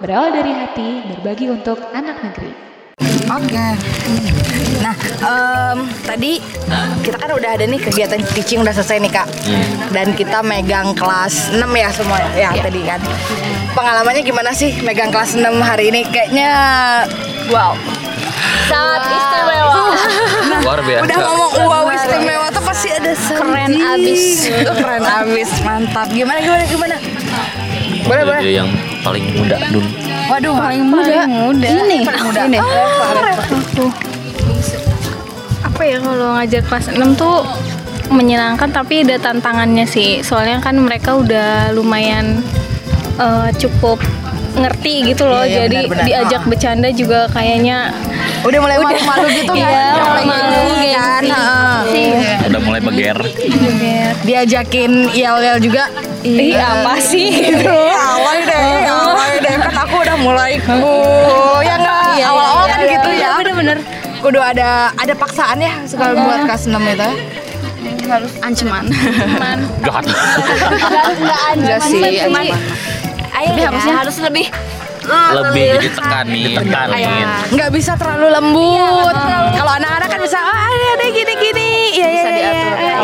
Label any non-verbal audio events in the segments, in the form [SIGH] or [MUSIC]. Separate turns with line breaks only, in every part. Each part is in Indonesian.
berawal dari hati, berbagi untuk anak negeri.
Oke. Nah, em, tadi kita kan udah ada nih kegiatan teaching udah selesai nih kak.
Hmm.
Dan kita megang kelas 6 ya semua ya
Iya.
tadi kan. Pengalamannya gimana sih megang kelas 6 hari ini? Kayaknya wow.
Sangat istimewa.
luar biasa
Udah ngomong wow istimewa tuh pasti ada
Keren
sedih.
abis.
Tuh, [LAUGHS] Keren abis, mantap. Gimana gimana gimana? Boleh boleh.
Dia yang paling muda dun
Waduh, paling muda. muda. Ini, paling
Oh,
muda. Ini.
Apa ya kalau ngajar kelas 6 tuh menyenangkan tapi ada tantangannya sih. Soalnya kan mereka udah lumayan eh, cukup ngerti gitu loh.
Iya, iya,
Jadi
benar-benar.
diajak
Ah.
bercanda juga kayaknya
Udah mulai malu-malu gitu kan?
Iya,
Mulai
malu,
gini kan? heeh.
Iya.
udah mulai beger
diajakin yel-yel juga Iya.
Ih, apa sih gitu.
awal deh awal deh kan aku udah mulai ku ya nggak
Iya,
awal-awal
iya,
kan
iya.
gitu ya
Iya, bener-bener.
kudu ada ada paksaan ya suka
Iya.
buat kelas 6 itu ya?
Ancaman.
jahat
enggak Iya sih emang
Tapi harusnya harus lebih
lebih ditekanin ditekanin
nggak bisa terlalu
Iya,
lembut kalau anak-anak kan bisa ah ada ada gini gini ya ya ya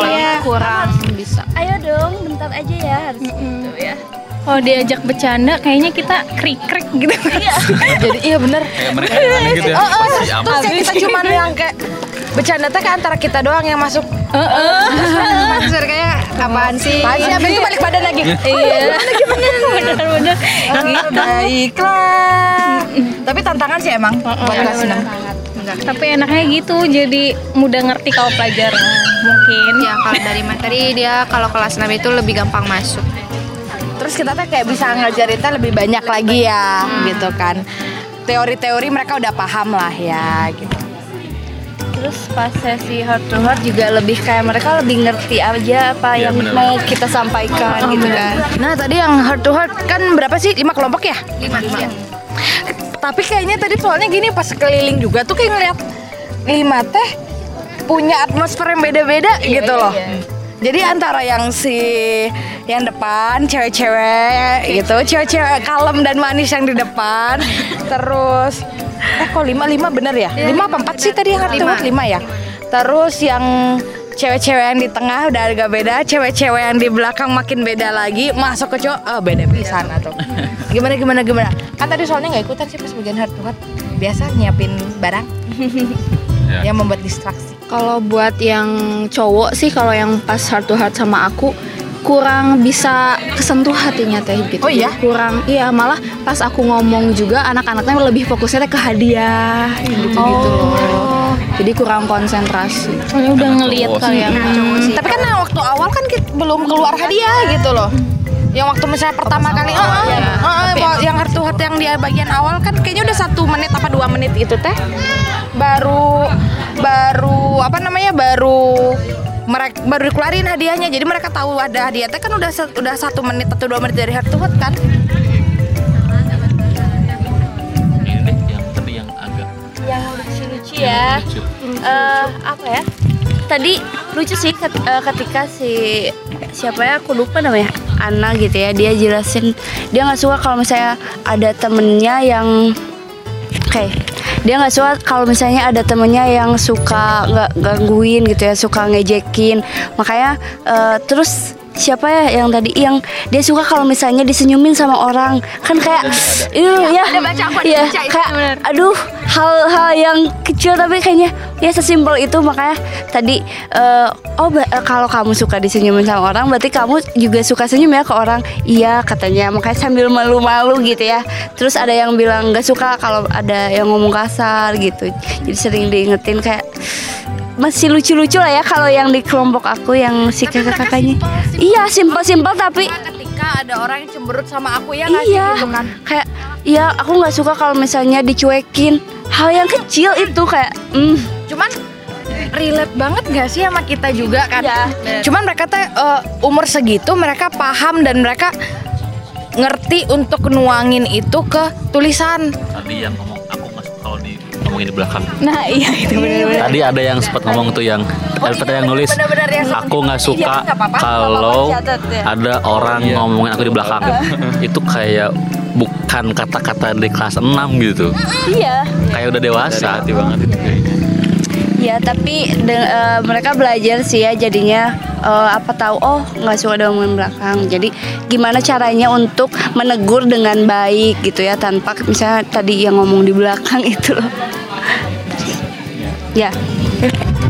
ya
kurang bisa.
Ayo dong, bentar aja ya harus.
gitu ya.
Kalau diajak bercanda kayaknya kita krik-krik gitu. [LAUGHS]
jadi iya bener
kayak mereka aneh gitu ya
oh, oh,
pasti apa
terus ya kita cuman yang kayak bercanda teh kan antara kita doang yang masuk
Oh,
[LAUGHS]
Pasar kayak
apaan sih apaan sih abis itu balik badan lagi
Iya.
Iya.
Iya, Bener-bener.
[LAUGHS]
Udah iklan. Tapi tantangan sih emang
Oh,
buat
iya,
kelas enam.
Tapi enaknya gitu, jadi mudah ngerti kalau pelajaran mungkin.
ya kalau dari materi dia kalau kelas 6 itu lebih gampang masuk.
Terus kita tuh kayak bisa ngajarin tuh lebih banyak lagi ya,
Hmm.
gitu kan. Teori-teori mereka udah paham lah ya, gitu.
Terus pas sesi heart to heart juga lebih kayak mereka lebih ngerti aja apa
Iya,
yang
bener.
mau kita sampaikan gitu kan.
Nah tadi yang heart to heart kan berapa sih? Lima kelompok ya? Lima. Tapi kayaknya tadi soalnya gini pas keliling juga tuh kayak ngeliat lima teh punya atmosfer yang beda-beda gitu loh. Jadi antara yang si yang depan cewek-cewek gitu, cewek-cewek kalem dan manis yang di depan, [LAUGHS] terus eh kok lima lima bener ya? Lima apa empat sih tadi yang heart to heart lima ya? Terus yang cewek-cewek yang di tengah udah agak beda, cewek-cewek yang di belakang makin beda lagi, masuk ke cowok ah, beda di sana [LAUGHS] tuh. Gimana gimana gimana? Kan tadi soalnya nggak ikutan sih pas bagian heart to heart. Biasa nyiapin [LAUGHS] barang yang membuat distraksi.
Kalau buat yang cowok sih kalau yang pas heart to heart sama aku kurang bisa kesentuh hatinya teh gitu.
Oh iya?
Kurang iya malah pas aku ngomong juga anak-anaknya lebih fokusnya teh ke hadiah gitu gitu
Oh.
loh. Jadi kurang konsentrasi.
Soalnya oh, udah ngeliat ya.
cowok
kalian.
Hmm. Tapi kan nah, waktu awal kan kita belum keluar hadiah gitu loh. Yang waktu misalnya pertama kali, oh, oh, oh, oh, yang heart to heart yang di bagian awal kan kayaknya udah satu menit apa dua menit itu teh baru baru apa namanya baru mereka baru dikeluarin hadiahnya jadi mereka tahu ada hadiah teh kan udah se- udah satu menit atau dua menit dari heart to heart kan
ini deh yang tadi yang agak
Iya, Lucu ya.
lucu
Eh, apa ya? Tadi lucu sih ket- eh, ketika si siapa ya aku lupa namanya Ana gitu ya dia jelasin dia nggak suka kalau misalnya ada temennya yang oke dia nggak suka kalau misalnya ada temennya yang suka nggak gangguin gitu ya suka ngejekin makanya eh, terus siapa ya yang tadi yang dia suka kalau misalnya disenyumin sama orang kan kayak "Ih, ya, ya, kayak aduh hal-hal yang kecil tapi kayaknya ya sesimpel itu makanya tadi eh, oh ba- eh, kalau kamu suka disenyumin sama orang berarti kamu juga suka senyum ya ke orang iya katanya makanya sambil malu-malu gitu ya terus ada yang bilang nggak suka kalau ada yang ngomong kasar gitu jadi sering diingetin kayak masih lucu-lucu lah ya kalau yang di kelompok aku yang si kakak-kakaknya iya simpel-simpel tapi
ketika ada orang yang cemberut sama aku ya
iya kayak iya aku nggak suka kalau misalnya dicuekin hal yang kecil itu kayak mm,
cuman relate banget gak sih sama kita juga kan cuman mereka teh eh, umur segitu mereka paham dan mereka ngerti untuk nuangin itu ke tulisan
tadi yang ngomong aku nggak suka kalau di ngomongin di belakang
Nah iya itu bener-bener.
tadi ada yang sempat ngomong tuh yang ada yang nulis
benar-benar yang
aku nggak
Iya,
suka
nggak apa-apa, nggak apa-apa,
kalau
dicatat ya.
ada orang ngomongin aku di belakang itu kayak bukan kata-kata di kelas 6 gitu.
Iya.
Kayak udah dewasa. Hati banget itu kayaknya.
Ya tapi de- eh, mereka belajar sih ya jadinya eh, apa tahu oh nggak suka dengan belakang. Jadi gimana caranya untuk menegur dengan baik gitu ya tanpa misalnya tadi yang ngomong di belakang [LAUGHS] itu loh. Ya.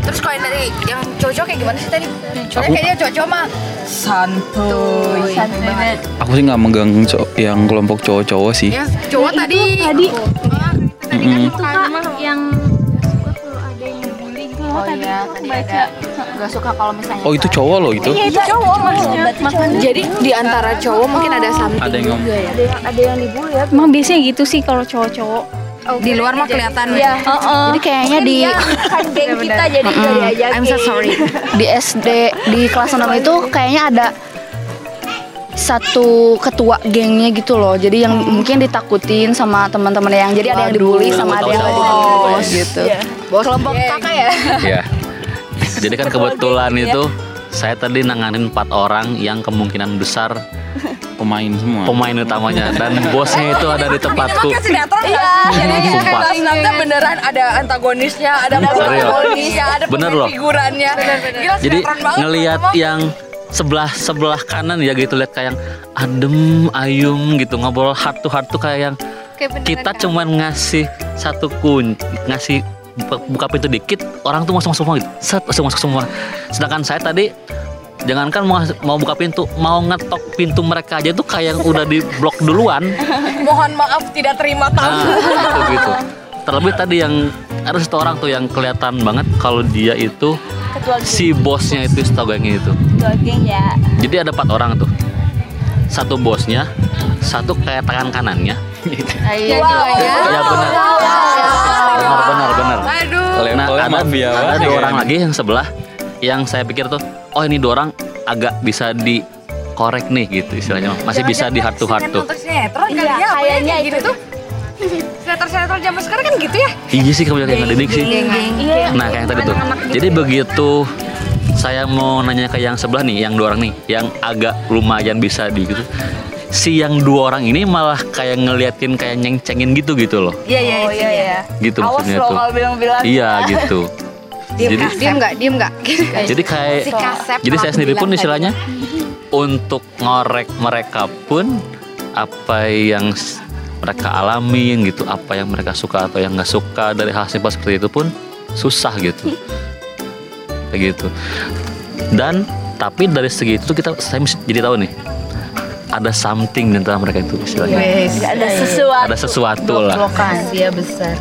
Terus kalau yang dari yang cocok kayak gimana sih tadi? Soalnya kayaknya cocok mah santuy. Santuy banget.
Aku sih nggak megang co- yang kelompok cowok-cowok sih.
Ya, cowok
Nah,
tadi.
itu tadi
Mm-mm.
itu kak yang suka kalau ada yang bully gitu
Oh,
loh
iya,
tadi tuh aku baca
Gak suka kalau misalnya
Oh itu cowok loh itu.
Iya, itu cowok maksudnya.
Jadi di antara cowok mungkin ada something
Ada yang ngomong.
emang biasanya gitu sih kalau cowok-cowok
Di luar mah kelihatan. gitu.
oh, oh.
Jadi kayaknya di
[LAUGHS] Geng kita jadi ya, jadi aja.
I'm so
[LAUGHS]
sorry.
di SD di kelas 6 itu kayaknya ada satu ketua gengnya gitu loh. Jadi yang mungkin ditakutin sama teman-teman yang jadi ada yang dibully sama ada yang
Tahu-tahu
dibully
bos.
gitu.
Oh, iya. Kelompok kakak ya.
Iya. Jadi kan kebetulan itu saya tadi nanganin empat orang yang kemungkinan besar
Pemain semua.
pemain utamanya dan bosnya itu ada di tempatku.
Kayak sinetron Iya. Jadi
Hmm,
kayak
sumpah.
kelas enamnya beneran ada antagonisnya, ada protagonisnya, ada
Bener loh.
figurannya. Gila
Jadi
Iya, sinetron banget.
ngelihat
emang.
yang sebelah sebelah kanan ya gitu lihat kayak yang adem ayum gitu ngobrol heart to heart tuh kayak yang kita cuman ngasih satu kun ngasih buka, buka pintu dikit orang tuh masuk masuk semua gitu set masuk masuk semua sedangkan saya tadi jangankan mau mau buka pintu mau ngetok pintu mereka aja tuh kayak yang udah di blok duluan
mohon maaf tidak terima tamu.
Nah, gitu, gitu. Terlebih tadi yang ada satu orang tuh yang kelihatan banget kalau dia itu si bosnya itu setahu gengnya itu. Jadi ada empat orang tuh. Satu bosnya, satu kayak tangan kanannya. Iya benar. Benar benar benar.
Aduh.
Nah,
Levelnya
ada,
mafia
ada
banget
dua
ya.
orang lagi yang sebelah yang saya pikir tuh, oh ini dua orang agak bisa dikorek nih gitu istilahnya masih bisa di heart to heart tuh
Untuk sinetron kali ya, kayaknya gitu tuh. Sinetron-sinetron zaman sekarang kan gitu ya.
iya sih kamu yang didik sih
iya
Nah kayak yang tadi tuh. Jadi begitu saya mau nanya ke yang sebelah nih, yang dua orang nih, yang agak lumayan bisa di gitu. Si yang dua orang ini malah kayak ngeliatin kayak nyeng-cengin gitu gitu loh.
Iya, iya, iya, iya.
Gitu maksudnya tuh.
bilang-bilang.
Iya
[LAUGHS]
gitu. Jadi
Diem nggak? Diem nggak?
jadi kayak jadi saya sendiri pun istilahnya untuk ngorek mereka pun apa yang s- mereka alamin gitu, apa yang mereka suka atau yang nggak suka dari hal simpel seperti itu pun susah gitu. Kayak gitu. Dan tapi dari segi itu kita saya mesti jadi tahu nih ada something di antara mereka itu istilahnya.
Ada sesuatu.
Ada sesuatu lah
Lokasi ya
iya,
besar.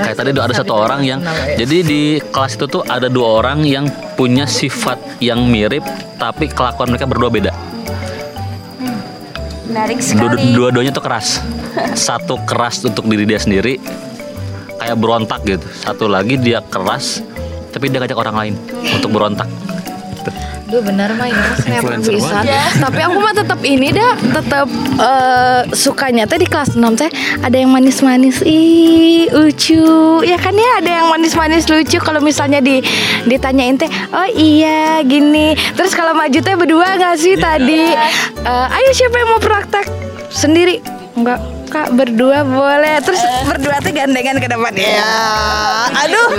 kayak tadi ada satu orang yang
ya.
jadi di kelas itu tuh ada dua orang yang punya sifat yang mirip tapi kelakuan mereka berdua beda
Hmm, Menarik
Dua-
sekali.
dua-duanya tuh
[LAUGHS]
keras satu keras untuk diri dia sendiri kayak berontak gitu satu lagi dia keras tapi dia ngajak orang lain untuk berontak
Duh benar mah ini
Influencer banget.
Tapi aku mah tetap ini dah, tetap eh, sukanya teh di kelas 6 teh ada yang manis-manis, ih lucu. Ya kan ya ada yang manis-manis lucu kalau misalnya di ditanyain teh, oh iya gini. Terus kalau maju teh berdua nggak sih tadi? Eh, ayo siapa yang mau praktek sendiri? Enggak Kak berdua boleh terus berdua teh gandengan ke depan ya aduh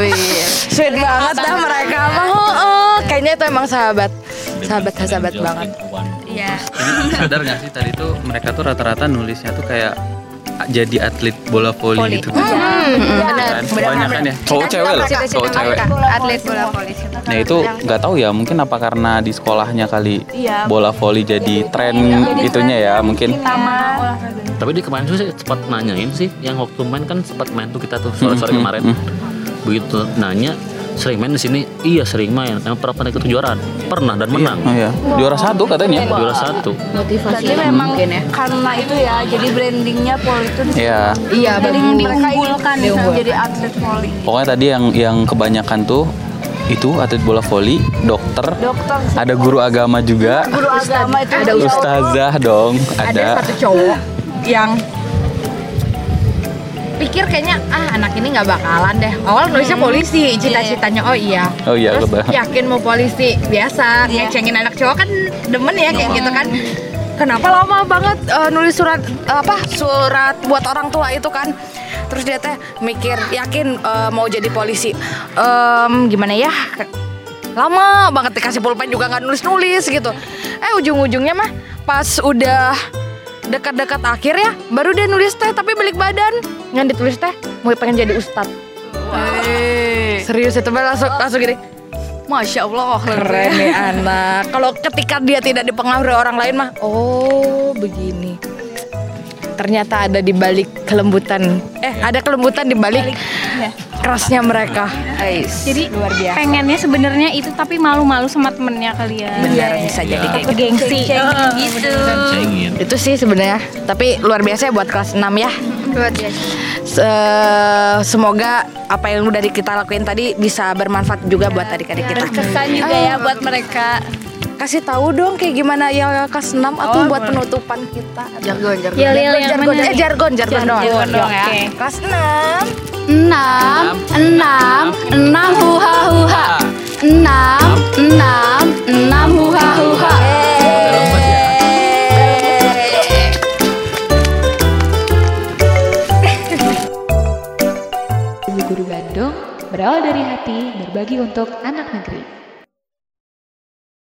sweet banget dah mereka mah oh, oh. kayaknya itu emang sahabat sahabat sahabat banget
Sadar nggak sih tadi tuh mereka tuh rata-rata nulisnya tuh kayak jadi atlet bola voli gitu. Benar. Kebanyakan ya. Cowok cewek loh. Cowok cewek.
atlet bola voli.
Nah itu nggak tahu ya mungkin apa karena di sekolahnya kali bola voli jadi tren itunya ya mungkin.
tapi dia kemarin tuh sih sempat nanyain sih yang waktu main kan sempat main tuh kita tuh sore-sore
Hmm, hmm,
kemarin begitu nanya sering main di sini iya sering main emang pernah pernah ikut kejuaraan pernah dan menang
Oh ya. Juara satu katanya.
juara satu
Berarti memang karena itu ya, jadi brandingnya poli itu di-
Iya.
Iya,
jadi
bener.
Iya,
diunggulkan misalnya jadi atlet poli.
Pokoknya tadi yang yang kebanyakan tuh itu atlet bola voli, dokter,
Dokter,
ada guru agama juga,
guru agama itu ada
ustazah dong,
Ada
ada.
satu cowok yang pikir kayaknya ah anak ini nggak bakalan deh awal nulisnya polisi cita-citanya oh iya
Oh iya,
terus
lebah.
yakin mau polisi biasa ngecengin anak cowok kan demen ya kayak gitu kan kenapa lama banget eh, nulis surat eh, apa surat buat orang tua itu kan terus dia teh mikir yakin eh, mau jadi polisi Em, gimana ya lama banget dikasih pulpen juga nggak nulis nulis gitu eh ujung ujungnya mah pas udah dekat-dekat akhir ya baru dia nulis teh tapi balik badan yang ditulis teh mau pengen jadi ustad serius itu mah langsung langsung gini Masya Allah keren nih anak. Kalau ketika dia tidak dipengaruhi orang lain mah, oh begini. Ternyata ada di balik kelembutan. Eh, ada kelembutan di balik iya. Eh, kerasnya mereka. Ais.
Jadi pengennya sebenarnya itu tapi malu-malu sama temennya kali ya.
benar Iya, bisa jadi kayak
Takut gengsi.
gitu
ingin
Itu sih sebenarnya, tapi luar biasa ya buat kelas 6 ya.
buat dia
Se- semoga apa yang udah kita lakuin tadi bisa bermanfaat juga buat adik-adik kita.
kesan juga ya buat
Iya,
mereka
Kasih tahu dong kayak gimana ya kelas 6 atau buat penutupan kita. Jargon, jargon.
Ya,
Yel, yel, yang
jargon,
mana
eh,
nih?
jargon, jargon, doang.
Jargon doang
Oke.
ya.
Kelas 6.
enam enam enam huha huha enam enam enam huha huha
Ibu Guru Bandung berawal dari hati berbagi untuk anak negeri.